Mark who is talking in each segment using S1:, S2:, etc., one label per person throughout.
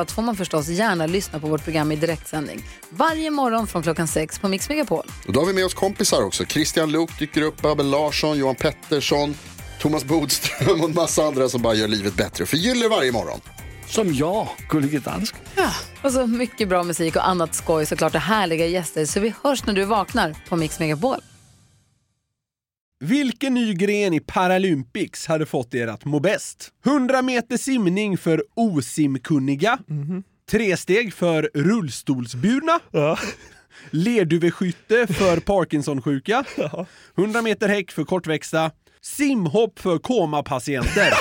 S1: allt får man förstås gärna lyssna på vårt program i direktsändning. Varje morgon från klockan sex på Mix Megapol.
S2: Och då har vi med oss kompisar också. Christian Luuk dyker upp, Abel Larsson, Johan Pettersson, Thomas Bodström och en massa andra som bara gör livet bättre och förgyller varje morgon.
S3: Som jag, Gullige Dansken.
S1: Och så mycket bra musik och annat skoj såklart och härliga gäster. Så vi hörs när du vaknar på Mix Megapol.
S4: Vilken ny gren i Paralympics hade fått er att må bäst? 100 meter simning för osimkunniga. Tresteg för rullstolsburna. Lerduveskytte för Parkinsonsjuka. 100 meter häck för kortväxta. Simhopp för komapatienter.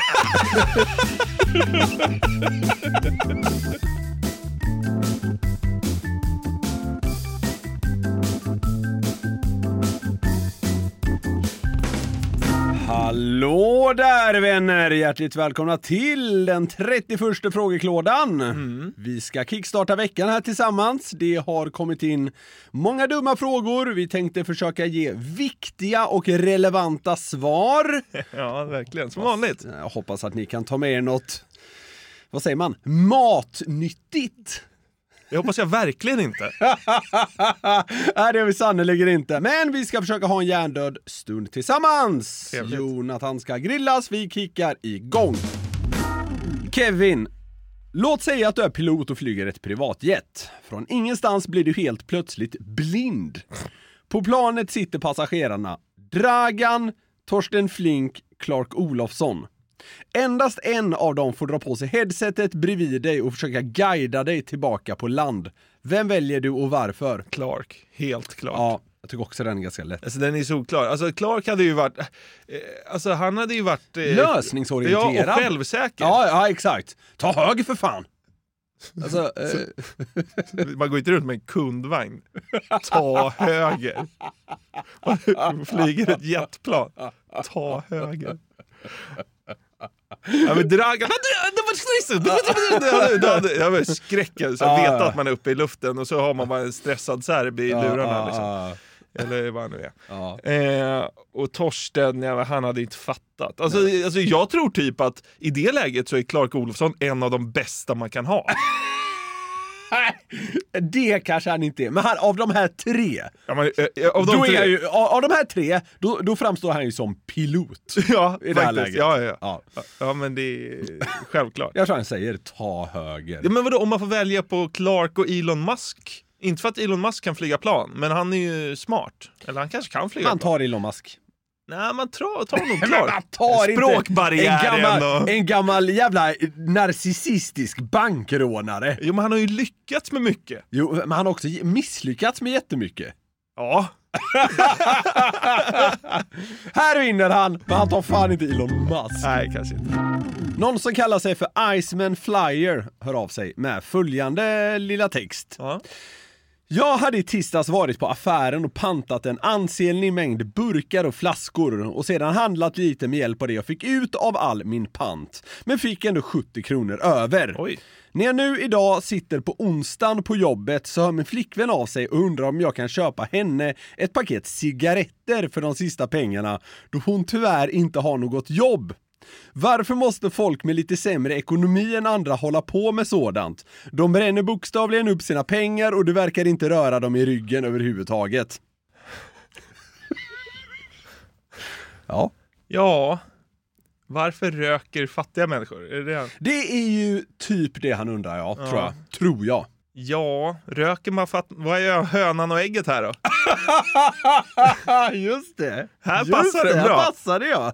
S4: Hallå där vänner! Hjärtligt välkomna till den 31 frågeklådan. Vi ska kickstarta veckan här tillsammans. Det har kommit in många dumma frågor. Vi tänkte försöka ge viktiga och relevanta svar.
S5: Ja, verkligen. Som vanligt.
S4: Jag hoppas att ni kan ta med er något, vad säger man, matnyttigt.
S5: Jag hoppas jag verkligen inte.
S4: Nej, det har vi sannerligen inte. Men vi ska försöka ha en hjärndöd stund tillsammans.
S5: Trevligt.
S4: Jonathan ska grillas, vi kickar igång. Kevin, låt säga att du är pilot och flyger ett privatjet. Från ingenstans blir du helt plötsligt blind. På planet sitter passagerarna Dragan, Torsten Flink, Clark Olofsson. Endast en av dem får dra på sig headsetet bredvid dig och försöka guida dig tillbaka på land. Vem väljer du och varför?
S5: Clark. Helt klart.
S4: Ja, jag tycker också den är ganska lätt.
S5: Alltså den är solklar. Alltså Clark hade ju varit... eh, Alltså han hade ju varit... eh,
S4: Lösningsorienterad.
S5: Ja, och självsäker.
S4: Ja, ja, exakt. Ta höger för fan! Alltså, eh,
S5: Man går inte runt med en kundvagn. Ta höger. Man flyger ett jetplan. Ta höger. Ja men Dragan... Jag var skräcken. Så att veta att man är uppe i luften och så har man bara en stressad serb i lurarna. Liksom.
S4: ja,
S5: Eller vad han nu är.
S4: ja.
S5: Eh, och Torsten, ja, han hade inte fattat. Alltså, alltså, jag tror typ att i det läget så är Clark Olofsson en av de bästa man kan ha.
S4: Nej, Det kanske han inte är, men han, av de här tre,
S5: Ja, men, eh, eh, av de
S4: då
S5: tre-
S4: är han ju, av, av de här tre, då, då framstår han ju som pilot.
S5: Ja,
S4: i det här
S5: faktiskt.
S4: läget.
S5: Ja, ja, ja.
S4: Ja.
S5: ja, men det är självklart.
S4: Jag tror han säger ta höger.
S5: Ja, men vadå, om man får välja på Clark och Elon Musk? Inte för att Elon Musk kan flyga plan, men han är ju smart. Eller han kanske kan flyga
S4: Han
S5: plan.
S4: tar Elon Musk.
S5: Nej, man tar, tar nog
S4: Men man
S5: Clark.
S4: tar inte en
S5: Språkbarriären
S4: gammal,
S5: och...
S4: en gammal jävla eh, narcissistisk bankrånare.
S5: Jo, men han har ju lyckats med mycket.
S4: Jo, men han har också misslyckats med jättemycket.
S5: Ja,
S4: Här vinner han, men han tar fan inte Elon Musk.
S5: nej kanske inte.
S4: Någon som kallar sig för Iceman Flyer hör av sig med följande lilla text.
S5: Ja.
S4: Jag hade i tisdags varit på affären och pantat en ansenlig mängd burkar och flaskor och sedan handlat lite med hjälp av det jag fick ut av all min pant. Men fick ändå 70 kronor över.
S5: Oj.
S4: När jag nu idag sitter på onsdagen på jobbet så hör min flickvän av sig och undrar om jag kan köpa henne ett paket cigaretter för de sista pengarna då hon tyvärr inte har något jobb. Varför måste folk med lite sämre ekonomi än andra hålla på med sådant? De bränner bokstavligen upp sina pengar och du verkar inte röra dem i ryggen överhuvudtaget. Ja.
S5: Ja, varför röker fattiga människor? Är det det?
S4: Det är ju typ det han undrar, ja, tror jag. Tror jag.
S5: Ja, röker man fatt... Vad är hönan och ägget här då?
S4: Just det!
S5: Här passar det bra.
S4: Här passar det ja!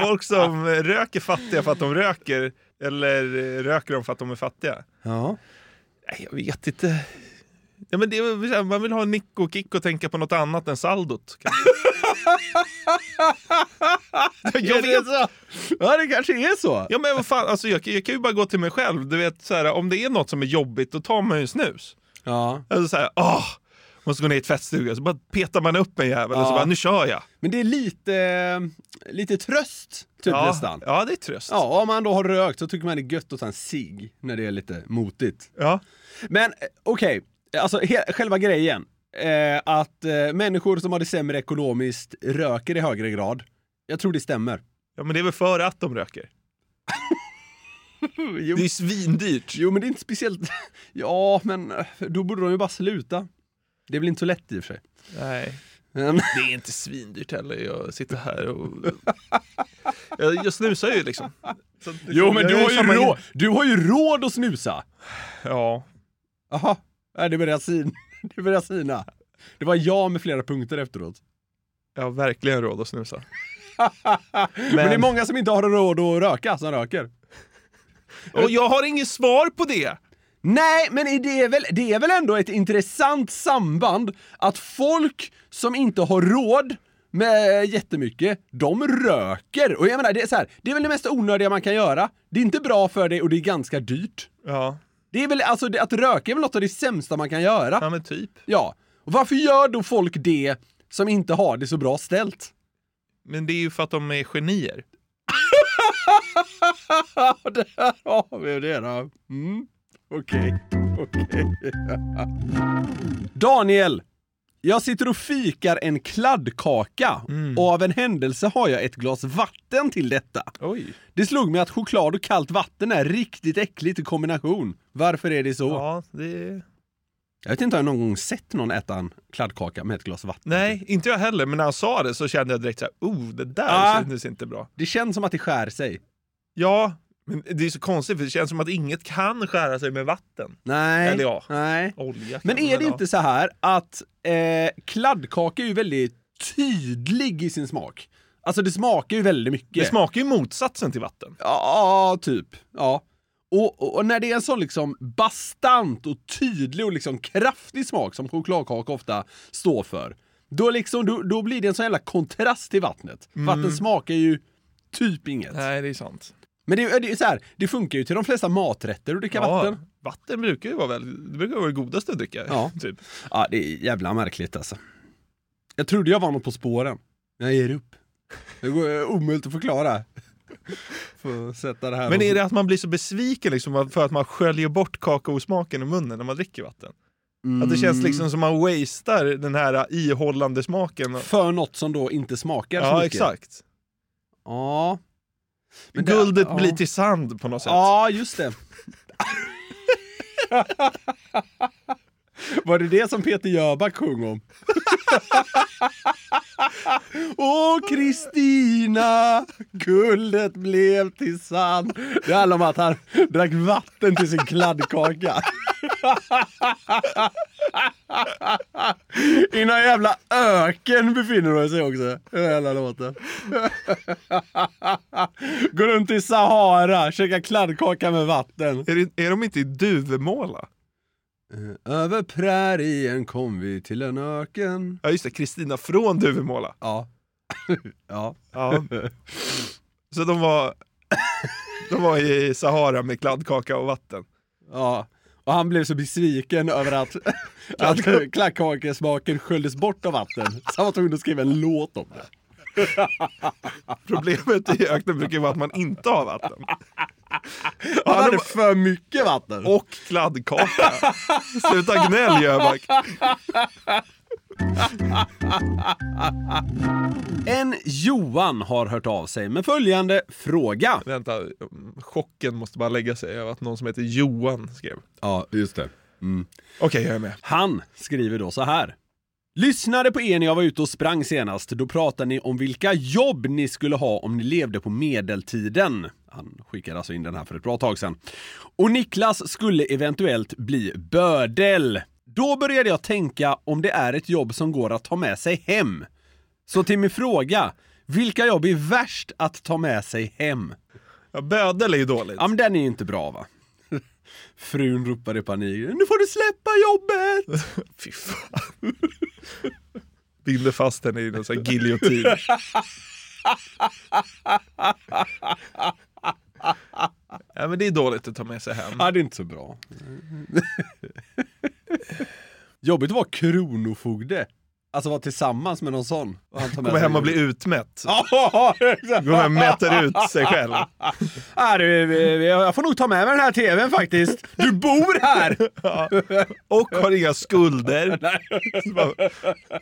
S5: Folk som eh, röker fattiga för att de röker, eller eh, röker de för att de är fattiga?
S4: Ja.
S5: Nej, jag vet inte. Ja, men det, är väl så här, man vill ha en nick och kick och tänka på något annat än saldot. kanske. Jag vet,
S4: Ja, det kanske är så.
S5: ja men vad fan, alltså jag, jag kan ju bara gå till mig själv. Du vet, så här, om det är något som är jobbigt, då tar man ju snus.
S4: Ja.
S5: Alltså så här, åh, måste gå ner i tvättstugan. Så bara petar man upp en jävel och så
S4: Ja.
S5: bara, nu kör jag.
S4: Men det är lite, lite tröst, typ
S5: ja,
S4: nästan.
S5: Ja, det är tröst.
S4: Ja, om man då har rökt så tycker man det är gött att ta en cigg när det är lite motigt.
S5: Ja.
S4: Men eh, okej, alltså he- själva grejen. Eh, att eh, människor som har det sämre ekonomiskt röker i högre grad. Jag tror det stämmer.
S5: ja, men det är väl för att de röker.
S4: Jo,
S5: Det är ju svindyrt.
S4: jo men det är inte speciellt... ja, men eh, då borde de ju bara sluta. Det är väl inte så lätt i och för sig.
S5: Nej.
S4: Men,
S5: Det är inte svindyrt heller. Jag sitter här och... Jag, jag snusar ju liksom. Så att-
S4: jo, men
S5: jag
S4: du
S5: gör
S4: har, ju
S5: samma grej.
S4: råd, du har ju råd att snusa!
S5: Ja.
S4: Jaha, Nej, det börjar sina. Det börjar sina. Det var jag med flera punkter efteråt.
S5: Jag har verkligen råd att snusa.
S4: Men, det är många som inte har råd att röka som röker.
S5: Och jag har inget svar på det!
S4: Nej, men är det är, väl, det är väl ändå ett intressant samband att folk som inte har råd med jättemycket, de röker. Och jag menar, det är, så här, det är väl det mest onödiga man kan göra. Det är inte bra för dig och det är ganska dyrt.
S5: Ja,
S4: Det är väl, alltså, det, att röka är väl något av det sämsta man kan göra.
S5: ja men typ.
S4: Ja. Och varför gör då folk det som inte har det så bra ställt?
S5: Men det är ju för att de är genier.
S4: Ja, där har vi det då. Mm. Okej, okej. Daniel! Jag sitter och fikar en kladdkaka och av en händelse har jag ett glas vatten till detta.
S5: Oj.
S4: Det slog mig att choklad och kallt vatten är riktigt äckligt i kombination. Varför är det så?
S5: Ja, det...
S4: Jag vet inte om jag någon gång sett någon äta en kladdkaka med ett glas vatten.
S5: Nej, inte jag heller. Men när han sa det så kände jag direkt så här, oh, det där
S4: Ah.
S5: kändes inte bra.
S4: Det känns som att det skär sig.
S5: Ja, men det är så konstigt för det känns som att inget kan skära sig med vatten.
S4: Nej.
S5: Eller ja.
S4: Nej.
S5: Olja kan
S4: Men
S5: man
S4: är det
S5: väl ha.
S4: inte så här att eh, kladdkaka är ju väldigt tydlig i sin smak? Alltså det smakar ju väldigt mycket.
S5: Det smakar ju motsatsen till vatten.
S4: ja, typ. Ja. Och, och, och när det är en sån liksom bastant och tydlig och liksom kraftig smak som chokladkaka ofta står för, då, liksom, då, då blir det en sån jävla kontrast till vattnet.
S5: Mm.
S4: Vatten smakar ju typ inget.
S5: Nej, det är sant.
S4: Men det, är- det är så här, det funkar ju till de flesta maträtter att dricka vatten.
S5: vatten brukar ju vara, väl, det brukar vara det godaste att dricka.
S4: Ja.
S5: Typ.
S4: Ja, det är jävla märkligt alltså. Jag trodde jag var något på spåren. Jag ger upp. Det går omöjligt att förklara. Får sätta det här
S5: Men är det att man blir så besviken liksom, för att man sköljer bort kakaosmaken i munnen när man dricker vatten? Att det
S4: Mm.
S5: känns liksom som man wastear den här ihållande smaken. och-
S4: för något som då inte smakar så
S5: Ja,
S4: mycket.
S5: exakt.
S4: Ja, Men det-
S5: Guldet
S4: ja.
S5: blir till sand på något sätt.
S4: ja just det. Var det det som Peter Jöback sjöng om? Åh Kristina, guldet blev till sand. Det handlar om att han drack vatten till sin kladdkaka. I någon jävla öken befinner de sig också. Den här jävla låten. Går runt i Sahara, käkar kladdkaka med vatten.
S5: Är, det, är de inte i Duvemåla?
S4: Över prärien kom vi till en öken.
S5: Ja, just det. Kristina från Duvemåla.
S4: Ja. ja.
S5: Ja. Så de var, de var i Sahara med kladdkaka och vatten.
S4: Ja. Och han blev så besviken över att, att kladdkakesmaken sköljdes bort av vatten. Så han var tvungen att skriva en låt om det.
S5: Problemet i öknen brukar ju vara att man inte har vatten.
S4: Han hade för mycket vatten.
S5: Och kladdkaka. Sluta gnäll Jöback.
S4: En Johan har hört av sig med följande fråga.
S5: Vänta, chocken måste bara lägga sig över att någon som heter Johan skrev.
S4: Ja, just det.
S5: Okej, jag är med.
S4: Han skriver då så här. Lyssnade på er när jag var ute och sprang senast. Då pratade ni om vilka jobb ni skulle ha om ni levde på medeltiden. Han skickade alltså in den här för ett bra tag sedan. Och Niklas skulle eventuellt bli bödel. Då började jag tänka om det är ett jobb som går att ta med sig hem. Så till min fråga, vilka jobb är värst att ta med sig hem?
S5: Ja, bödel är ju dåligt.
S4: Ja, men den är ju inte bra va? Frun ropar i panik. Nu får du släppa jobbet!
S5: Fy fan. binder fast henne i någon sån här giljotin. ja, men det är dåligt att ta med sig hem.
S4: Ja, det är inte så bra. Jobbigt att vara kronofogde. Alltså vara tillsammans med någon sån. Och han tar med
S5: Kommer
S4: sig-
S5: hem och blir utmätt.
S4: Ja, exakt.
S5: Går hem och mäter ut sig själv.
S4: Ja, du, jag får nog ta med mig den här tvn faktiskt. Du bor här!
S5: Ja. Och har inga skulder. Så bara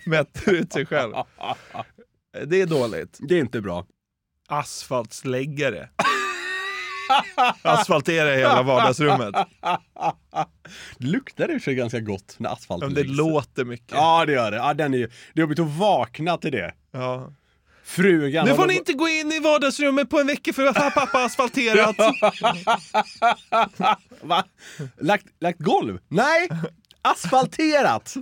S5: Mäter ut sig själv. Det är dåligt.
S4: Det är inte bra.
S5: Asfaltsläggare. Asfaltera hela vardagsrummet.
S4: Det luktar i och för sig ganska gott när asfalten
S5: Men det
S4: läggs.
S5: låter mycket.
S4: Ja, det gör det. Ja, den är ju... Det är jobbigt att vakna till det.
S5: Ja.
S4: Frugan...
S5: Nu får
S4: håller
S5: ni
S4: på-
S5: inte gå in i vardagsrummet på en vecka för att pappa har asfalterat.
S4: Va? Lagt, lagt golv? Nej! Asfalterat!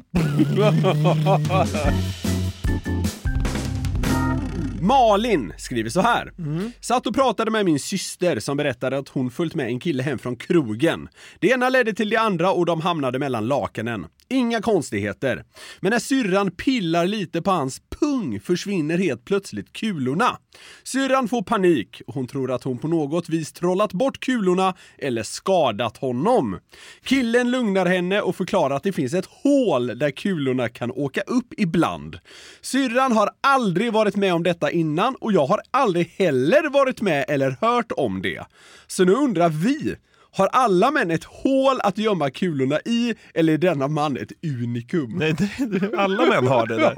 S4: Malin skriver så här. Satt och pratade med min syster som berättade att hon följt med en kille hem från krogen. Det ena ledde till det andra och de hamnade mellan lakanen. Inga konstigheter. Men när syrran pillar lite på hans pung försvinner helt plötsligt kulorna. Syrran får panik och hon tror att hon på något vis trollat bort kulorna eller skadat honom. Killen lugnar henne och förklarar att det finns ett hål där kulorna kan åka upp ibland. Syrran har aldrig varit med om detta innan och jag har aldrig heller varit med eller hört om det. Så nu undrar vi, har alla män ett hål att gömma kulorna i eller är denna man ett unikum?
S5: Nej, det, alla män har det där.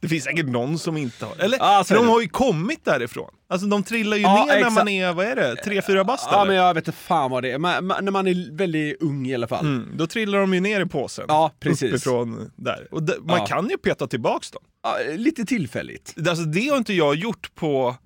S5: Det finns säkert någon som inte har Eller,
S4: Ja, så
S5: för
S4: är
S5: de
S4: det.
S5: har ju kommit därifrån. Alltså de trillar ju
S4: Ja,
S5: ner
S4: exakt.
S5: när man är, vad är det, tre, fyra bast
S4: Ja,
S5: eller?
S4: men jag vet inte fan vad det är. Man, man, när man är väldigt ung i alla fall.
S5: Mm, Då trillar de ju ner i påsen.
S4: Ja, precis.
S5: Uppifrån där. Och d- man
S4: Ja.
S5: kan ju peta tillbaks dem.
S4: Ja, lite tillfälligt.
S5: Alltså det har inte jag gjort på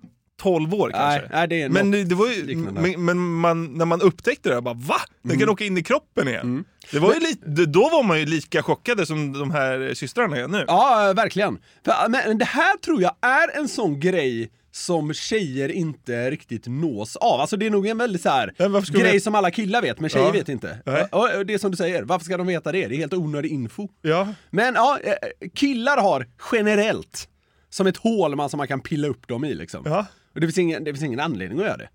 S5: 12 år kanske.
S4: Nej, nej, det är
S5: men
S4: något
S5: det, det var ju,
S4: liknande. Mm.
S5: men, men man, när man upptäckte det, jag bara va? Den kan åka in i kroppen igen. Det var ju lite, det- då var man ju lika chockade som de här systrarna är nu.
S4: Ja, verkligen. För, men det här tror jag är en sån grej som tjejer inte riktigt nås av. Alltså det är nog en väldigt så här
S5: Men varför ska
S4: grej
S5: vi-
S4: som alla killar vet, men tjejer
S5: Ja.
S4: vet inte.
S5: Nej.
S4: Och, och det är som du säger, varför ska de veta det? Det är helt onödig info.
S5: Ja.
S4: Men ja, eh, killar har generellt som ett hål man, som man kan pilla upp dem i liksom.
S5: Ja. Eh.
S4: Och det finns, ingen, det finns ingen anledning att göra det,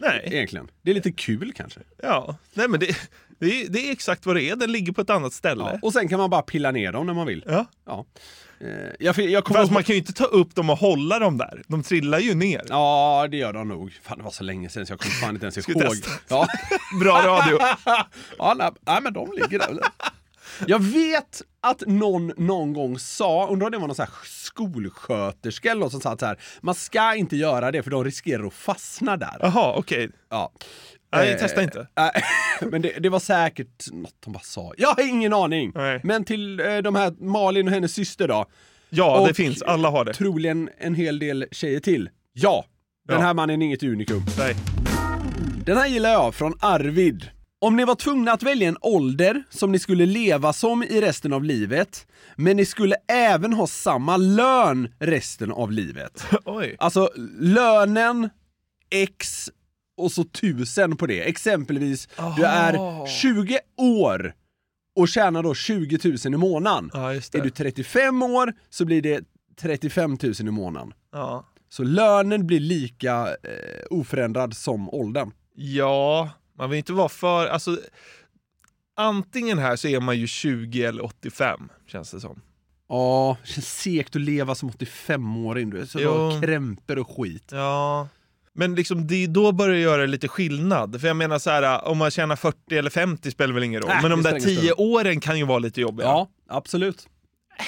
S5: Nej.
S4: egentligen. Det är lite kul kanske.
S5: Ja. Nej men det, det, är, det är exakt vad det är, den ligger på ett annat ställe.
S4: Och sen kan man bara pilla ner dem när man vill.
S5: Ja.
S4: Ja. Eh, Jag, jag kommer
S5: Fast
S4: ihåg-
S5: man kan ju inte ta upp dem och hålla dem där. De trillar ju ner.
S4: Ja, det gör de nog. Fan, det var så länge sedan så jag kommer fan inte ens
S5: Ska vi
S4: ihåg.
S5: testa?
S4: Ja,
S5: Bra radio.
S4: ja nej, nej, men de ligger där. väl? Jag vet att någon någon gång sa, undrar om det var någon så här skolsköterska eller något som sa att så här, man ska inte göra det för de riskerar att fastna där.
S5: Jaha, okej.
S4: Ja.
S5: Nej,
S4: Eh,
S5: testa inte.
S4: Nej, men det, det var säkert något de bara sa. Jag har ingen aning.
S5: Nej.
S4: Men till eh, de här Malin och hennes syster då.
S5: Ja, det
S4: och-
S5: finns. Alla har det.
S4: Troligen en hel del tjejer till. Ja, den
S5: Ja.
S4: här mannen är inget unikum.
S5: Nej.
S4: Den här gillar jag, från Arvid. Om ni var tvungna att välja en ålder som ni skulle leva som i resten av livet, men ni skulle även ha samma lön resten av livet.
S5: Oj.
S4: Alltså lönen, x och så tusen på det. Exempelvis, du är
S5: Aha.
S4: 20 år och tjänar då 20 000 i månaden.
S5: Ja, just
S4: Är du
S5: det.
S4: 35 år så blir det 35 000 i månaden.
S5: Ja.
S4: Så lönen blir lika eh, oförändrad som åldern.
S5: Ja, man vill inte vara för... Alltså, antingen här så är man ju 20 eller 85, känns det som.
S4: Ja, det känns segt att leva som 85-åring. Du är så
S5: Jo.
S4: krämper och skit.
S5: Ja. Men liksom, det är då börjar det göra lite skillnad. För jag menar så här, om man tjänar 40 eller 50 spelar väl ingen roll.
S4: Nej,
S5: men de
S4: det
S5: där
S4: spelar ingen
S5: 10 åren kan ju vara lite jobbiga.
S4: Ja, absolut.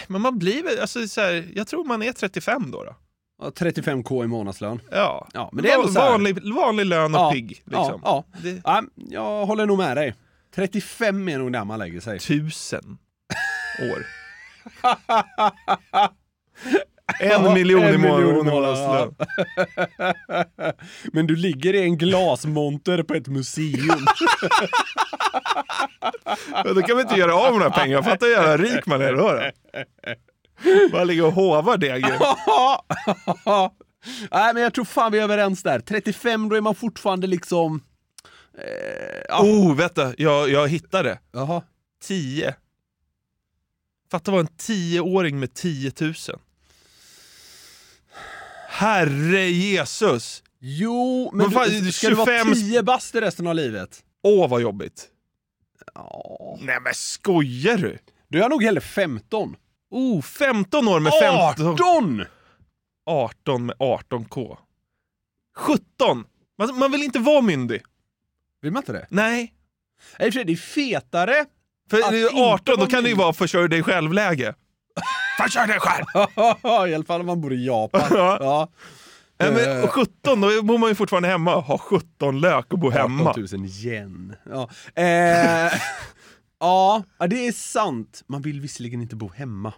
S5: Men man blir väl, alltså så här, jag tror man är 35 då. då.
S4: Ja, 35k i månadslön.
S5: Ja.
S4: Ja, men det är ändå så här.
S5: vanlig, vanlig lön och
S4: Ja,
S5: pigg. Liksom.
S4: Ja, ja.
S5: Det-
S4: ja, jag håller nog med dig. 35 är nog där man lägger sig.
S5: Tusen år. en miljon i
S4: en miljon i
S5: mån-
S4: månaden,
S5: månadslön.
S4: Men du ligger i en glasmonter på ett museum.
S5: Då kan vi inte göra av med några pengar. Fattar hur jävla rik man är då. då. Bara ligger och hovar degen.
S4: Nej, men jag tror fan vi är överens där. 35, då är man fortfarande liksom...
S5: Oh, vänta. Jag, jag hittade.
S4: Jaha.
S5: 10. Fatta vad en tioåring med 10 000. Herre Jesus!
S4: Jo, men,
S5: Men fan,
S4: du, ska det vara
S5: 25
S4: 10 bast i resten av livet?
S5: Åh vad jobbigt. Nej men skojar du?
S4: Du är nog hellre 15.
S5: Oh, 15 år med 15...
S4: 18!
S5: 18 med 18k. 17! Man, man vill inte vara myndig.
S4: Vill man inte det?
S5: Nej.
S4: Nej, i och för sig, det är fetare.
S5: För
S4: Att
S5: det
S4: inte
S5: är 18 då
S4: vara
S5: kan det ju
S4: myndig.
S5: vara försörj dig själv-läge. Försörj dig själv!
S4: I alla fall om man bor i Japan.
S5: Ja.
S4: ja.
S5: Nej, men,
S4: Eh.
S5: och 17, då bor man ju fortfarande hemma. Ha 17 lök och bo hemma.
S4: 18 000 yen. Ja. Eh, ja, ja, det är sant. Man vill visserligen inte bo hemma.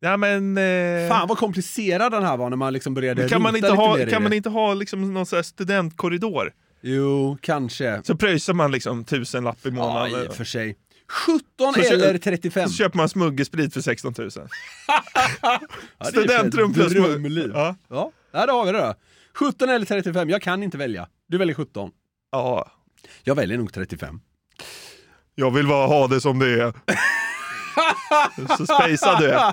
S5: Ja, men, eh,
S4: Fan vad komplicerad den här var när man liksom började
S5: men kan man
S4: rota
S5: inte
S4: lite
S5: ha,
S4: mer i
S5: kan
S4: det.
S5: man inte ha liksom någon sån här studentkorridor?
S4: Jo, kanske.
S5: Så pröjsar man liksom tusenlapp i
S4: Ja,
S5: månaden.
S4: i och för sig. 17
S5: Så kö-
S4: eller 35.
S5: så köper man smuggelsprit för 16 000.
S4: Ja, det är
S5: Studentrum
S4: för ett
S5: plus smugg-
S4: drömliv. Ja.
S5: Ja.
S4: Ja, där har vi det då. 17 eller 35, jag kan inte välja. Du väljer 17.
S5: ja,
S4: Jag väljer nog 35.
S5: jag vill bara ha det som det är. så spejsar du är.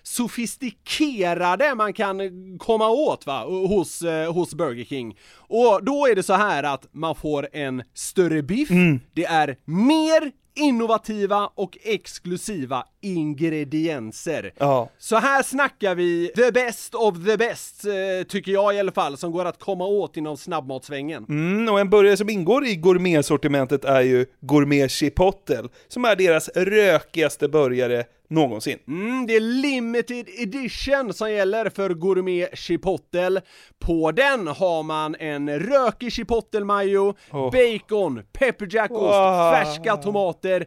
S6: sofistikerade man kan komma åt va, hos, eh, hos Burger King. Och då är det så här att man får en större biff,
S7: Mm.
S6: det är mer innovativa och exklusiva ingredienser.
S7: Ja.
S6: Så här snackar vi the best of the best, eh, tycker jag i alla fall, som går att komma åt inom snabbmatsvängen.
S7: Mm, och en burgare som ingår i gourmetsortimentet är ju Gourmet Chipotle, som är deras rökigaste burgare någonsin.
S6: Mm, det är limited edition som gäller för gourmet chipotle. På den har man en rökig chipotle-majo, bacon, pepperjackost,
S7: Wow.
S6: färska tomater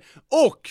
S6: och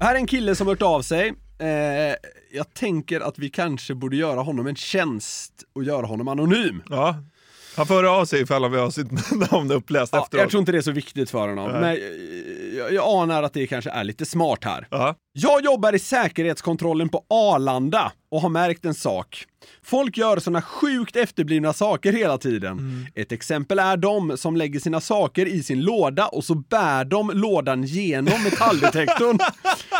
S4: Här är en kille som hört av sig. Eh, jag tänker att vi kanske borde göra honom en tjänst och göra honom anonym.
S5: Ja. Han får höra av sig ifall han vill ha sitt namn uppläst
S4: Ja,
S5: efteråt.
S4: jag tror inte det är så viktigt för honom, men eh, jag, jag anar att det kanske är lite smart här.
S5: Ja.
S4: Jag jobbar i säkerhetskontrollen på Arlanda och har märkt en sak. Folk gör såna sjukt efterblivna saker hela tiden.
S5: Mm.
S4: Ett exempel är de som lägger sina saker i sin låda och så bär de lådan genom metalldetektorn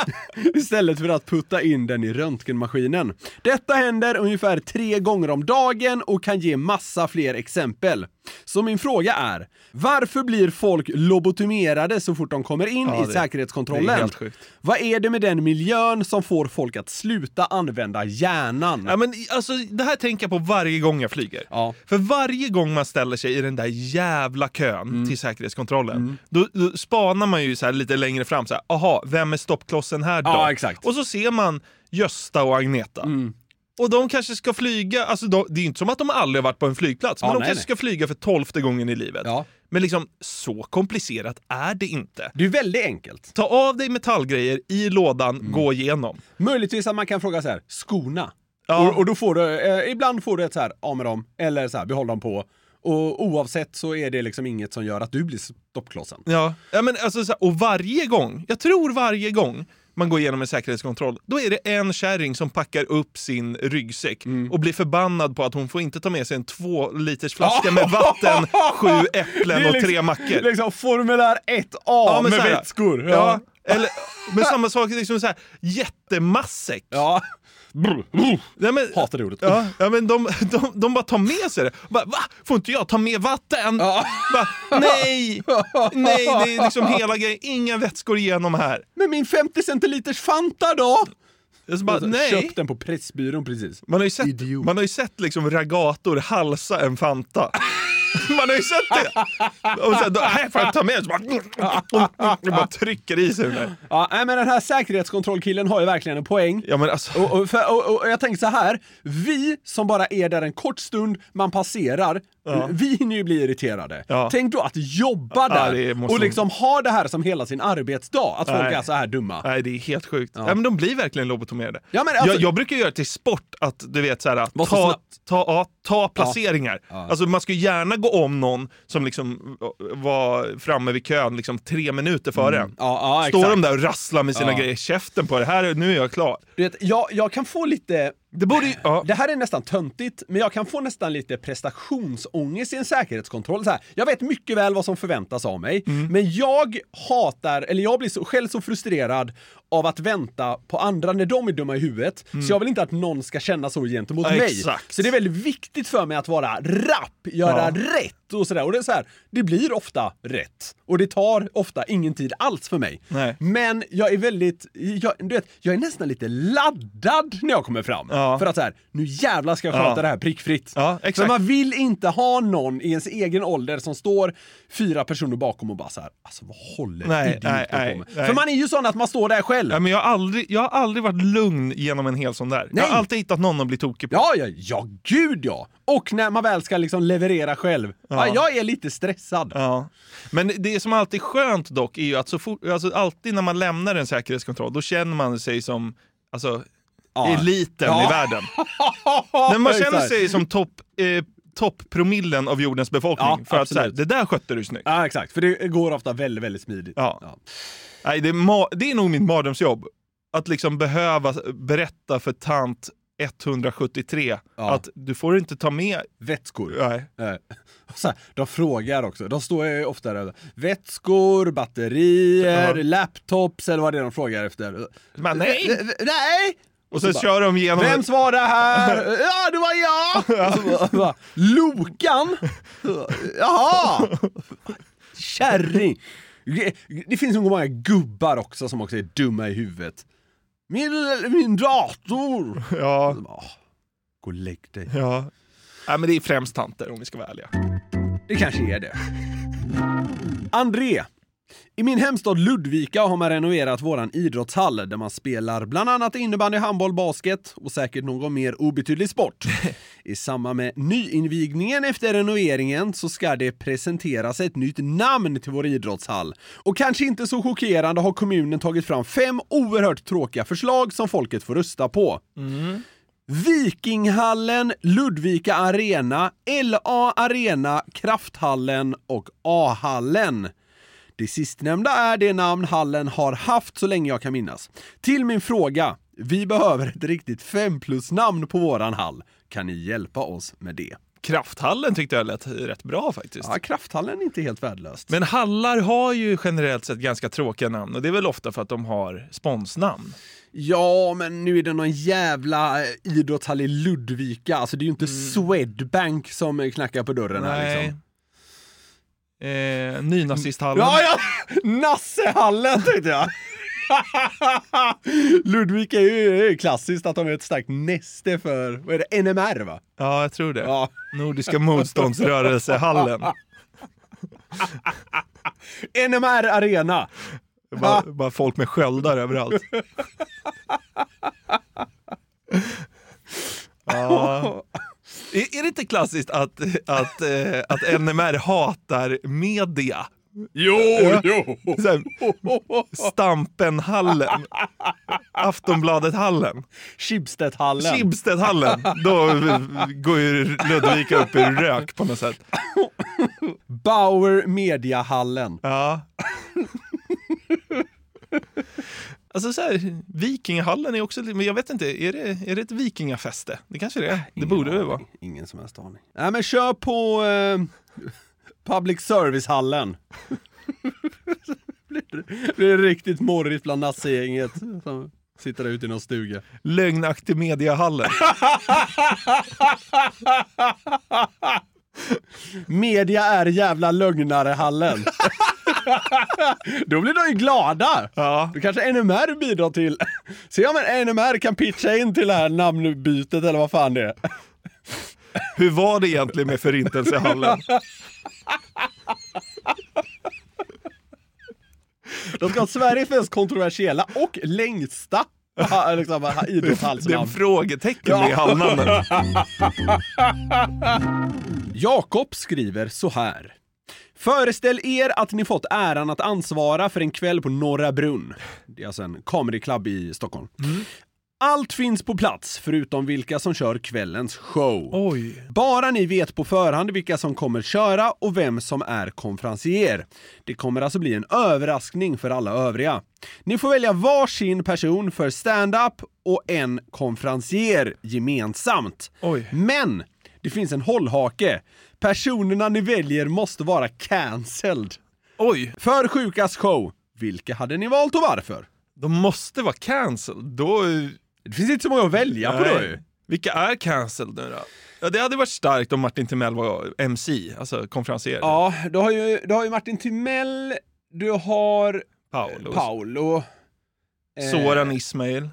S4: istället för att putta in den i röntgenmaskinen. Detta händer ungefär tre gånger om dagen och kan ge massa fler exempel. Så min fråga är, varför blir folk lobotomerade så fort de kommer in i säkerhetskontrollen?
S5: det är helt sjukt.
S4: Vad är det med den miljön som får folk att sluta använda hjärnan?
S5: Ja, men, alltså, det här tänker jag på varje gång jag flyger.
S4: Ja.
S5: För varje gång man ställer sig i den där jävla kön
S4: Mm.
S5: till säkerhetskontrollen, då, då spanar man ju så här lite längre fram. Så här, aha, vem är stoppklossen här då?
S4: Ja, exakt. Mm.
S5: Och så ser man Gösta och Agneta. Och de kanske ska flyga, alltså de, det är ju inte som att de aldrig har varit på en flygplats,
S4: Ja,
S5: men de
S4: nej,
S5: kanske ska flyga för tolfte gången i livet.
S4: Ja.
S5: Men liksom, så komplicerat är det inte.
S4: Det är väldigt enkelt.
S5: Ta av dig metallgrejer i lådan,
S4: Mm.
S5: gå igenom.
S4: Möjligtvis att man kan fråga så här, skorna?
S5: Ja.
S4: Och, och då får du, eh, ibland får du ett så här, av med dem, eller så här, behåll dem på. Och oavsett så är det liksom inget som gör att du blir stoppklossen.
S5: Ja, ja men alltså, så här, och varje gång, jag tror varje gång man går igenom en säkerhetskontroll, då är det en kärring som packar upp sin ryggsäck
S4: Mm.
S5: och blir förbannad på att hon får inte ta med sig en två liters flaska med vatten, sju
S4: Det
S5: äpplen
S4: är
S5: och
S4: liksom-
S5: tre mackor.
S4: Liksom formulär 1A
S5: Ja, men
S4: med
S5: så här,
S4: vätskor.
S5: Ja. Eller, men samma sak, liksom så här, jättematsäck.
S4: Ja.
S5: Nej, men,
S4: Hatar det ordet.
S5: Ja, ja men de, de, de bara tar med sig det. Bara, Va? Får inte jag ta med vatten? Bara, nej! Nej, det är liksom hela grejen. Inga vätskor igenom här.
S4: Men min 50 centiliters Fanta då?
S5: Jag så bara, nej.
S4: Köpt Alltså, den på Pressbyrån precis.
S5: Man har ju sett, man har ju sett liksom ragator halsa en Fanta. Man har ju sett det! Och så här, då, här får jag ta med så bara, och bara trycker i sig den där.
S4: Ja, nej, men den här säkerhetskontrollkillen har ju verkligen en poäng.
S5: Ja, men alltså,
S4: Och, och, för, och, och jag tänker så här, vi som bara är där en kort stund, man passerar, vi hinner ju bli irriterade.
S5: Ja.
S4: Tänk då att jobba
S5: Ja,
S4: där
S5: det måste-
S4: och liksom ha det här som hela sin arbetsdag, att folk
S5: Nej.
S4: är så här dumma.
S5: nej, det är helt sjukt. Ja. men de blir verkligen lobotomerade.
S4: Ja, men alltså-
S5: jag, jag brukar göra det till sport att du vet så här,
S4: Var så
S5: ta, ta,
S4: snabbt.
S5: ja, ta placeringar. Alltså, man ska ju gärna gå om någon som liksom eh, var framme vid kön liksom, tre minuter före en.
S4: Ja, Mm. ja,
S5: Står
S4: exakt.
S5: de där och rasslar med sina grejer, käften på det här, är- nu är jag klar.
S4: Du vet, jag, jag kan få lite...
S5: Det borde ju... Ja.
S4: Det här är nästan töntigt, men jag kan få nästan lite prestationsångest i en säkerhetskontroll. Så här, jag vet mycket väl vad som förväntas av mig,
S5: Mm.
S4: men jag hatar, eller jag blir så, själv så frustrerad av att vänta på andra när de är dumma i huvudet, så jag vill inte att någon ska känna så gentemot
S5: Mm. Ja,
S4: mig.
S5: exakt.
S4: Så det är väldigt viktigt för mig att vara rapp, göra rätt och sådär. Och det är så här, det blir ofta rätt. Och det tar ofta ingen tid alls för mig.
S5: Nej.
S4: Men jag är väldigt, jag, du vet, jag är nästan lite laddad när jag kommer fram.
S5: Ja.
S4: För att så här, nu jävlar ska jag sköta
S5: Ja.
S4: det här prickfritt.
S5: Ja, exakt.
S4: För man vill inte ha någon i ens egen ålder som står fyra personer bakom och bara så här, alltså vad håller
S5: Nej,
S4: idioten
S5: nej, nej,
S4: på med?
S5: nej.
S4: För man är ju sån att man står där själv.
S5: Ja, men jag, har aldrig, jag har aldrig varit lugn genom en hel sån där. Jag
S4: Nej.
S5: har alltid hittat någon att bli tokig på.
S4: Ja, ja, ja, gud ja! Och när man väl ska liksom leverera själv. Ja. jag är lite stressad.
S5: Ja. Men det som alltid är skönt dock är ju att så fort, alltså alltid när man lämnar en säkerhetskontroll då känner man sig som alltså, eliten
S4: Ja.
S5: i världen. När man
S4: Exakt.
S5: känner sig som topp, eh, topppromillen av jordens befolkning.
S4: Ja,
S5: för att så här,
S4: absolut.
S5: det där skötte du snyggt.
S4: Ja, exakt. För det går ofta väldigt, väldigt smidigt.
S5: Ja.
S4: Ja.
S5: Nej, det, är ma- det är nog mitt mardrömsjobb. Att liksom behöva berätta för tant 173
S4: Ja.
S5: att du får inte ta med...
S4: Vätskor.
S5: Nej.
S4: Eh, och Så här, de frågar också. De står ju ofta där. Vätskor, batterier,
S5: Ja.
S4: laptops eller vad det är de frågar efter.
S5: Men nej!
S4: Eh, Nej!
S5: Och sen
S4: så bara,
S5: kör de igenom...
S4: Vems var det här? Ja, det var jag! Och så bara- bara, Lokan? Jaha! Kärring! Det finns så många gubbar också som också är dumma i huvudet. Min, min dator!
S5: Ja.
S4: Åh, Gå och lägg dig.
S5: Ja. Nej, men det är främst tanter om vi ska vara ärliga.
S4: Det kanske är det. André. I min hemstad Ludvika har man renoverat våran idrottshall där man spelar bland annat innebandy, handboll, basket och säkert någon mer obetydlig sport. I samband med nyinvigningen efter renoveringen så ska det presenteras ett nytt namn till vår idrottshall. Och kanske inte så chockerande har kommunen tagit fram fem oerhört tråkiga förslag som folket får rösta på. Vikinghallen, Ludvika Arena, LA Arena, Krafthallen och A-hallen. Det sistnämnda är det namn hallen har haft så länge jag kan minnas. Till min fråga. Vi behöver ett riktigt 5 plus-namn på våran hall. Kan ni hjälpa oss med det?
S5: Krafthallen tyckte jag lät rätt bra faktiskt.
S4: Ja, Krafthallen är inte helt värdelöst.
S5: Men hallar har ju generellt sett ganska tråkiga namn och det är väl ofta för att de har sponsnamn.
S4: Ja, men nu är det någon jävla eh, idrottshall i Ludvika. Alltså, det är ju inte Swedbank som eh, knackar på dörren här liksom.
S5: Nej. Eh, Nynazisthallen.
S4: Ja, ja! Nassehallen tänkte jag! Ludvika är ju är ju klassiskt att de är ett starkt näste för, vad är det, NMR va?
S5: Ja, jag tror det.
S4: Ja.
S5: Nordiska motståndsrörelsehallen.
S4: NMR Arena!
S5: Det är bara, bara folk med sköldar överallt. Ja. Är, är det inte klassiskt att, att, eh, att NMR hatar media?
S4: Jo, jo!
S5: Så här, Stampenhallen. Aftonbladet-hallen.
S4: Schibsted-hallen.
S5: Schibsted-hallen. Då går ju Ludvika upp i rök på något sätt.
S4: Bauer Media-hallen.
S5: Ja. Alltså så här, vikingahallen är också, lite- men jag vet inte, är det, är det ett vikingafäste? Det kanske det är. Det borde det vara.
S4: Ingen som helst aning. Nej men kör ehm, på eh, Public Service-hallen. Det är riktigt morrigt bland nazigänget som sitter där ute i någon stuga.
S5: Lögnaktig mediahallen.
S4: Media är jävla lögnarehallen. Då blir de ju glada! Ja. Då kanske NMR bidrar till... Se om en NMR kan pitcha in till det här namnbytet eller vad fan det är.
S5: Hur var det egentligen med förintelsehallen?
S4: De ska ha Sveriges mest kontroversiella och längsta ha- liksom, ha-
S5: Det är
S4: idrottshalsnamn.
S5: en frågetecken med
S4: Ja.
S5: halvnamnen.
S4: Jakob skriver så här. Föreställ er att ni fått äran att ansvara för en kväll på Norra Brunn. Det är alltså en comedy club i Stockholm. Allt finns på plats, förutom vilka som kör kvällens show.
S5: Oj.
S4: Bara ni vet på förhand vilka som kommer köra och vem som är konferencier. Det kommer alltså bli en överraskning för alla övriga. Ni får välja varsin person för stand-up och en konferencier gemensamt. Men det finns en hållhake. Personerna ni väljer måste vara cancelled.
S5: Oj.
S4: För sjukas show. Vilka hade ni valt och varför?
S5: De måste vara cancelled. Då... eh,
S4: Det finns inte så många att välja på
S5: Nej.
S4: då ju.
S5: Vilka är cancelled nu då? Ja, det hade varit starkt om Martin Timell var MC, alltså konferencier.
S4: Ja, du har ju, du har ju Martin Timell, du har
S5: Paolo.
S4: Paolo. Eh,
S5: Soran Ismail.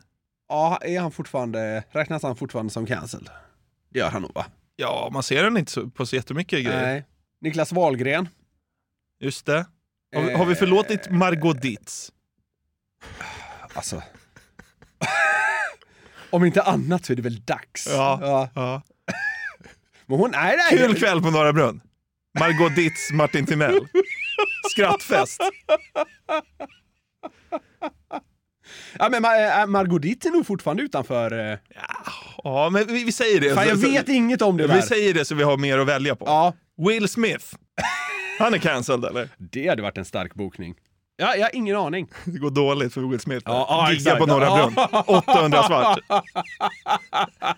S4: Ja, är han fortfarande, räknas han fortfarande som cancelled? Det gör han nog va?
S5: Ja, man ser den inte så, på så jättemycket grejer.
S4: Nej. Niklas Wahlgren.
S5: Just det. Har vi, har vi
S4: Eh.
S5: förlåtit Margot Dietz?
S4: Alltså. Om inte annat så är det väl dags.
S5: Ja.
S4: ja.
S5: ja.
S4: Men hon, nej, nej.
S5: Kul kväll på Norra Brunn. Margot Dietz, Martin Timell. Skrattfest.
S4: Ja, men Mar- äh, Margot Dietz är nog fortfarande utanför. eh.
S5: Ja, men vi, vi säger det.
S4: Fan, jag
S5: Så- så-
S4: vet inget om det där.
S5: Vi säger det så vi har mer att välja på.
S4: Ja,
S5: Will Smith. Han är cancelled eller?
S4: det hade varit en stark bokning. Ja, jag har ingen aning.
S5: Det går dåligt för Will Smith.
S4: Ja, ja,
S5: Giggar
S4: exakt.
S5: på Norra
S4: Ja.
S5: Brunn. 800 svart.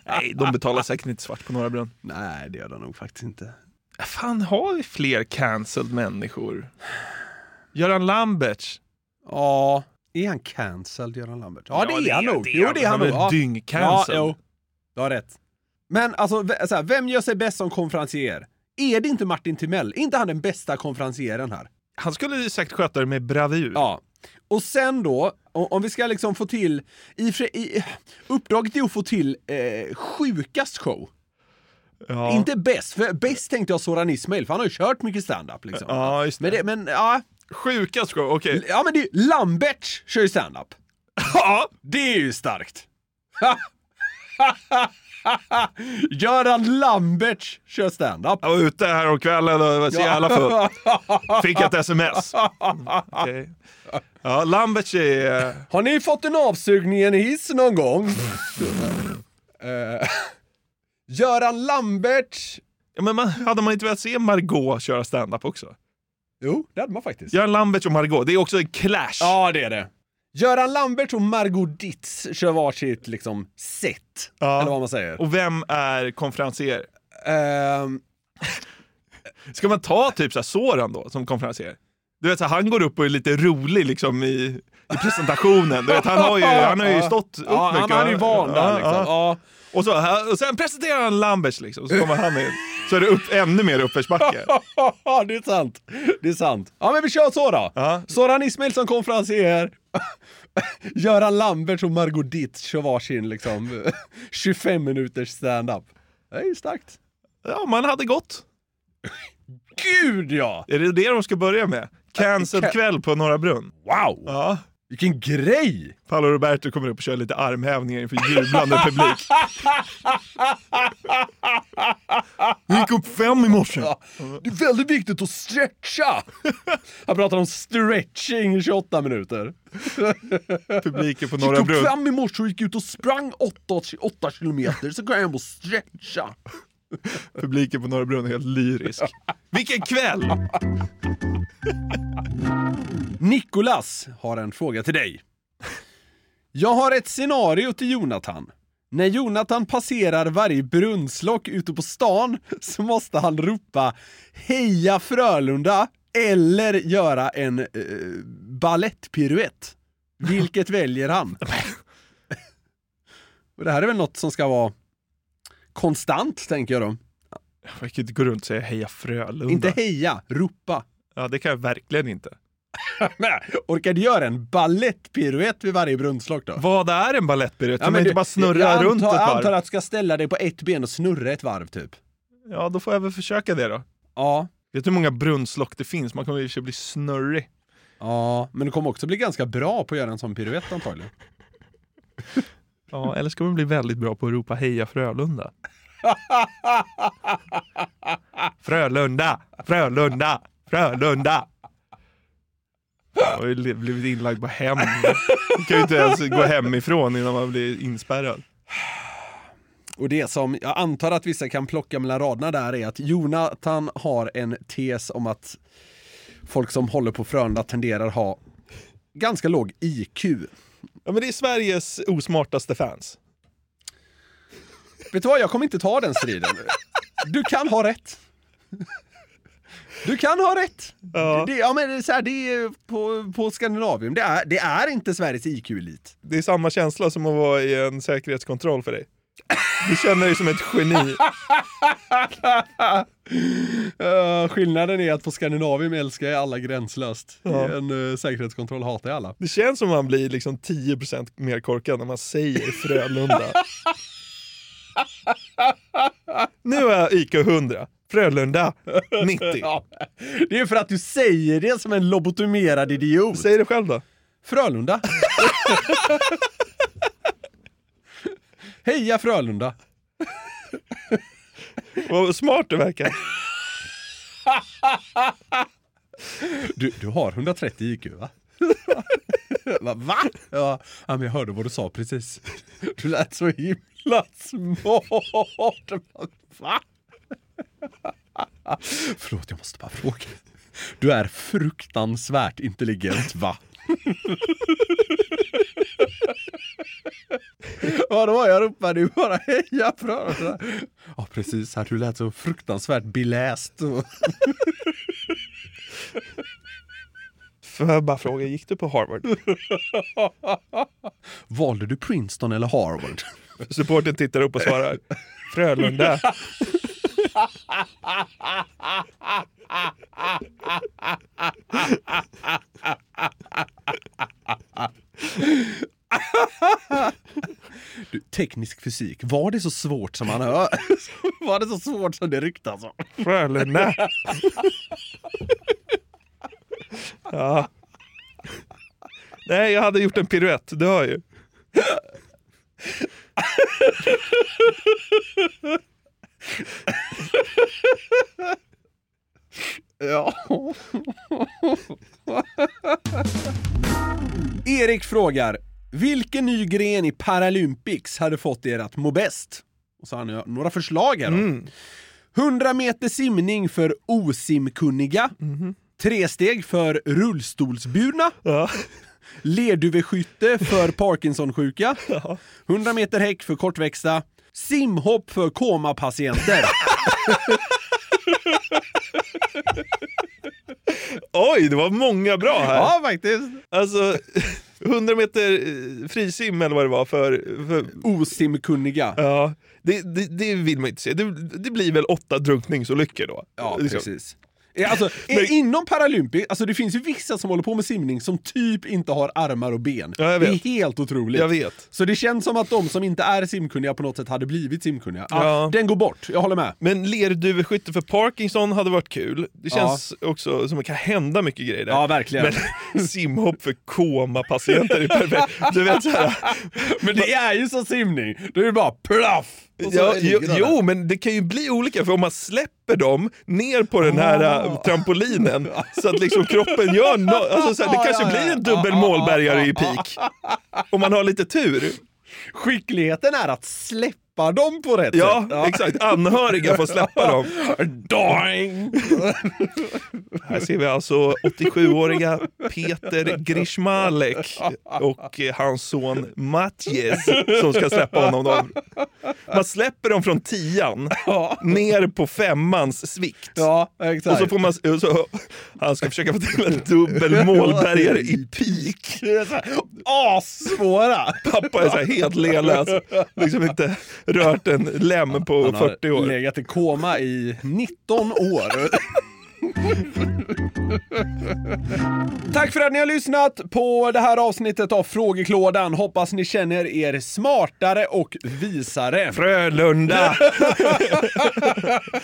S5: Nej, de betalar säkert inte svart på Norra Brunn.
S4: Nej, det gör de nog faktiskt inte.
S5: Fan, har vi fler cancelled människor? Göran Lamberts.
S4: Ja. Är han cancelled, Göran Lambert? Ja, det, är han nog.
S5: det är
S4: jo,
S5: han.
S4: det är han
S5: Han
S4: nog.
S5: är
S4: Ja.
S5: dyngcancelled.
S4: Ja, jo. Du har rätt. Men alltså, v- så här, vem gör sig bäst som konferencier? Är det inte Martin Timell? Är inte han den bästa konferencieren här?
S5: Han skulle ju säkert sköta det med bravur.
S4: Ja. Och sen då, o- om vi ska liksom få till... I, och för sig- i, uppdraget är att få till eh, sjukast show.
S5: Ja.
S4: Inte bäst, för bäst tänkte jag Soran Ismail, för han har ju kört mycket stand-up liksom.
S5: Ja, just
S4: Men,
S5: det.
S4: det, men ja,
S5: Sjukast show, okej.
S4: ja men det är ju- Lambert kör ju stand-up.
S5: Ja,
S4: Det är ju starkt! Göran Lambert kör stand-up.
S5: Jag var ute här om kvällen och var så jävla full. Fick ett sms. Mm, Okej. Ja, Lamberts är...
S4: Har ni fått en avsugning i en hiss någon gång? Eh, Göran Lambert.
S5: Ja, men man, hade man inte velat se Margot köra stand-up också?
S4: Jo, det hade man faktiskt.
S5: Göran Lambert och Margot, det är också en clash.
S4: Ja, det är det. Göran Lambert och Margot Dietz kör varsitt liksom set.
S5: Ja.
S4: Eller vad man säger.
S5: Och vem är konferencier?
S4: Ehm,
S5: Ska man ta typ så här Soran då som konferencier? Du vet, så här, han går upp och är lite rolig liksom i, i presentationen. Du vet, han, har ju, han har ju stått upp
S4: ja,
S5: mycket.
S4: han, han är ju van där
S5: Ja,
S4: liksom.
S5: ja.
S4: Ja.
S5: Och, så, här- och sen presenterar han Lamberts liksom, så kommer han in. Så är det upp, ännu mer uppförsbacke.
S4: Ja, det är sant. Det är sant. Ja, men vi kör så då.
S5: Ja.
S4: Soran Ismail som konferencier. Göran Lambert och Margot Dietz kör varsin liksom 25 minuters stand-up. Det är ju starkt.
S5: Ja, man hade gått.
S4: Gud ja!
S5: Är det det de ska börja med? Cancelled
S4: Ca-
S5: kväll på Norra Brunn.
S4: Wow!
S5: Ja.
S4: Vilken grej!
S5: Paolo Roberto kommer upp och kör lite armhävningar inför jublande publik. Jag gick upp fem i morse.
S4: Ja, Det är väldigt viktigt att stretcha! Han pratar om stretching i 28 minuter.
S5: Publiken på Norra
S4: Jag tog
S5: Brunn.
S4: fram i morse och gick ut och sprang 8, 8 kilometer, så kan jag hem och stretcha.
S5: Publiken på Norra Brunn är helt lyrisk. Vilken kväll!
S4: Nikolas har en fråga till dig. Jag har ett scenario till Jonathan. När Jonathan passerar varje brunnslock ute på stan så måste han ropa Heja Frölunda eller göra en eh, balettpiruett. Vilket väljer han? Och det här är väl något som ska vara konstant, tänker jag då.
S5: Jag kan inte gå runt och säga heja Frölunda.
S4: Inte heja, ropa.
S5: Ja, det kan jag verkligen inte.
S4: Nej, Orkar du göra en balettpiruett vid varje brunnslock då?
S5: Vad är en balettpiruett? Kan
S4: men
S5: man inte
S4: du-
S5: bara snurra
S4: jag
S5: runt
S4: antar,
S5: ett
S4: Jag
S5: varv?
S4: antar att du ska ställa dig på ett ben och snurra ett varv typ.
S5: Ja, då får jag väl försöka det då.
S4: Ja.
S5: Vet du hur många brunnslock det finns? Man kommer i och för sig bli snurrig.
S4: Ja, men du kommer också bli ganska bra på att göra en sån piruett antagligen.
S5: Ja, eller ska man bli väldigt bra på att ropa heja Frölunda? Frölunda! Frölunda! Frölunda! Jag har ju li- blivit inlagd på hem. Man kan ju inte ens gå hemifrån innan man blir inspärrad.
S4: Och det som jag antar att vissa kan plocka mellan raderna där är att Jonathan har en tes om att folk som håller på Frölunda tenderar ha ganska låg IQ.
S5: Ja, men det är Sveriges osmartaste fans.
S4: Vet du vad, jag kommer inte ta den striden. Du kan ha rätt. Du kan ha rätt.
S5: Ja.
S4: Det, ja, men det är så här, det är på, på Skandinavium, det är, det är inte Sveriges IQ-elit.
S5: Det är samma känsla som att vara i en säkerhetskontroll för dig. Du känner dig som ett geni.
S4: Eh, skillnaden är att på Skandinavium älskar jag alla gränslöst.
S5: Ja.
S4: I en eh, säkerhetskontroll hatar jag alla.
S5: Det känns som att man blir liksom 10% mer korkad när man säger Frölunda. nu är jag IQ 100. Frölunda 90.
S4: Ja. Det är för att du säger det som en lobotomerad idiot.
S5: Säg det själv då.
S4: Frölunda. Heja Frölunda.
S5: Vad smart du verkar.
S4: Du, du har 130 IQ va? Va? va? Ja, ja, men jag hörde vad du sa precis. Du lät så himla smart. Va? Förlåt, jag måste bara fråga. Du är fruktansvärt intelligent va? Vadå? Jag ropade ju bara heja Frölunda. Ja precis, här, du lät så fruktansvärt beläst.
S5: Får jag bara fråga, gick du på Harvard?
S4: Valde du Princeton eller Harvard?
S5: Supporten tittar upp och svarar Frölunda.
S4: Du, teknisk fysik, var det så svårt som man hör? Var det så svårt som det ryktas om?
S5: Frölunda. ja. Nej, jag hade gjort en piruett, du hör ju.
S4: Ja. Erik frågar, vilken ny gren i Paralympics hade fått er att må bäst? Och så har han ju några förslag här då. 100 meter simning för osimkunniga. Tre steg för rullstolsburna.
S5: Ja.
S4: Lerduveskytte för Parkinsonsjuka. 100 meter häck för kortväxta. Simhopp för komapatienter.
S5: Oj, det var många bra här.
S4: ja, faktiskt.
S5: Alltså, 100 meter eh, frisim eller vad det var för... för
S4: Osimkunniga.
S5: ja, det, det, det vill man inte se. Det, det blir väl åtta drunkningsolyckor då?
S4: Ja,
S5: Liksom.
S4: precis. Ja, Alltså,
S5: Men-
S4: Inom Paralympics, alltså det finns ju vissa som håller på med simning som typ inte har armar och ben.
S5: Ja, jag
S4: det
S5: vet.
S4: är helt otroligt.
S5: Jag vet.
S4: Så det känns som att de som inte är simkunniga på något sätt hade blivit simkunniga. Ja,
S5: Ja.
S4: Den går bort, jag håller med.
S5: Men lerduveskytte för Parkinson hade varit kul. Det känns också som att det kan hända mycket grejer där.
S4: Ja, verkligen.
S5: Men simhopp för komapatienter är perfekt. Du vet så här,
S4: Men det är ju så simning, det är ju bara plaff! Och så
S5: ja,
S4: ligger
S5: jo,
S4: den där.
S5: jo, men det kan ju bli olika för om man släpper dem ner på den här
S4: Ah.
S5: eh, trampolinen så att liksom kroppen gör no alltså, så här, Det kanske blir en
S4: Ah,
S5: dubbel målbergare i peak. Om man har lite tur.
S4: Skickligheten är att släppa släppa dem på rätt
S5: Ja,
S4: sätt.
S5: exakt. Anhöriga får släppa dem.
S4: Doing!
S5: Här ser vi alltså 87-åriga Peter Grishmalek och eh, hans son Matjes som ska släppa honom. Dem. Man släpper dem från tian ner på femmans svikt.
S4: Ja, exakt.
S5: Och så får man, och så, han ska försöka få till en dubbel målbergare i pik.
S4: Assvåra!
S5: Pappa är så här helt lelas, liksom inte rört en lem på
S4: Han har
S5: 40 år.
S4: legat i koma i 19 år. Tack för att ni har lyssnat på det här avsnittet av Frågeklådan. Hoppas ni känner er smartare och visare.
S5: Frölunda!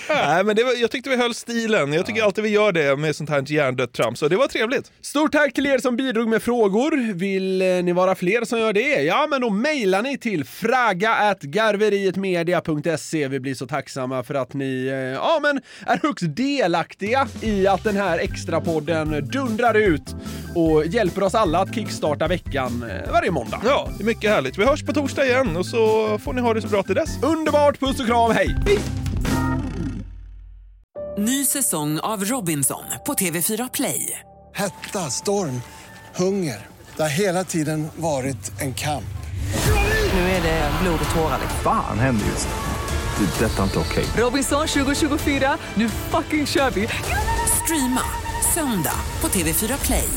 S5: Nej, men det var, jag tyckte vi höll stilen. Jag tycker alltid vi gör det med sånt här hjärndött trams. Så det var trevligt.
S4: Stort tack till er som bidrog med frågor. Vill eh, ni vara fler som gör det? Ja, men då mejlar ni till fraga.garverietmedia.se. Vi blir så tacksamma för att ni eh, ja, men är högst delaktiga i att den här extra podden dundrar ut och hjälper oss alla att kickstarta veckan eh, varje måndag.
S5: Ja, det är mycket härligt. Vi hörs på torsdag igen och så får ni ha det så bra till dess.
S4: Underbart! Puss och kram, hej!
S8: Ny säsong av Robinson på TV4 Play.
S9: Hetta, storm, hunger. Det har hela tiden varit en kamp.
S8: Nu är det blod och tårar.
S10: Fan händer just nu. Det. är Detta är inte okej.
S8: Robinson 2024, nu fucking kör vi! Streama söndag på TV4 Play.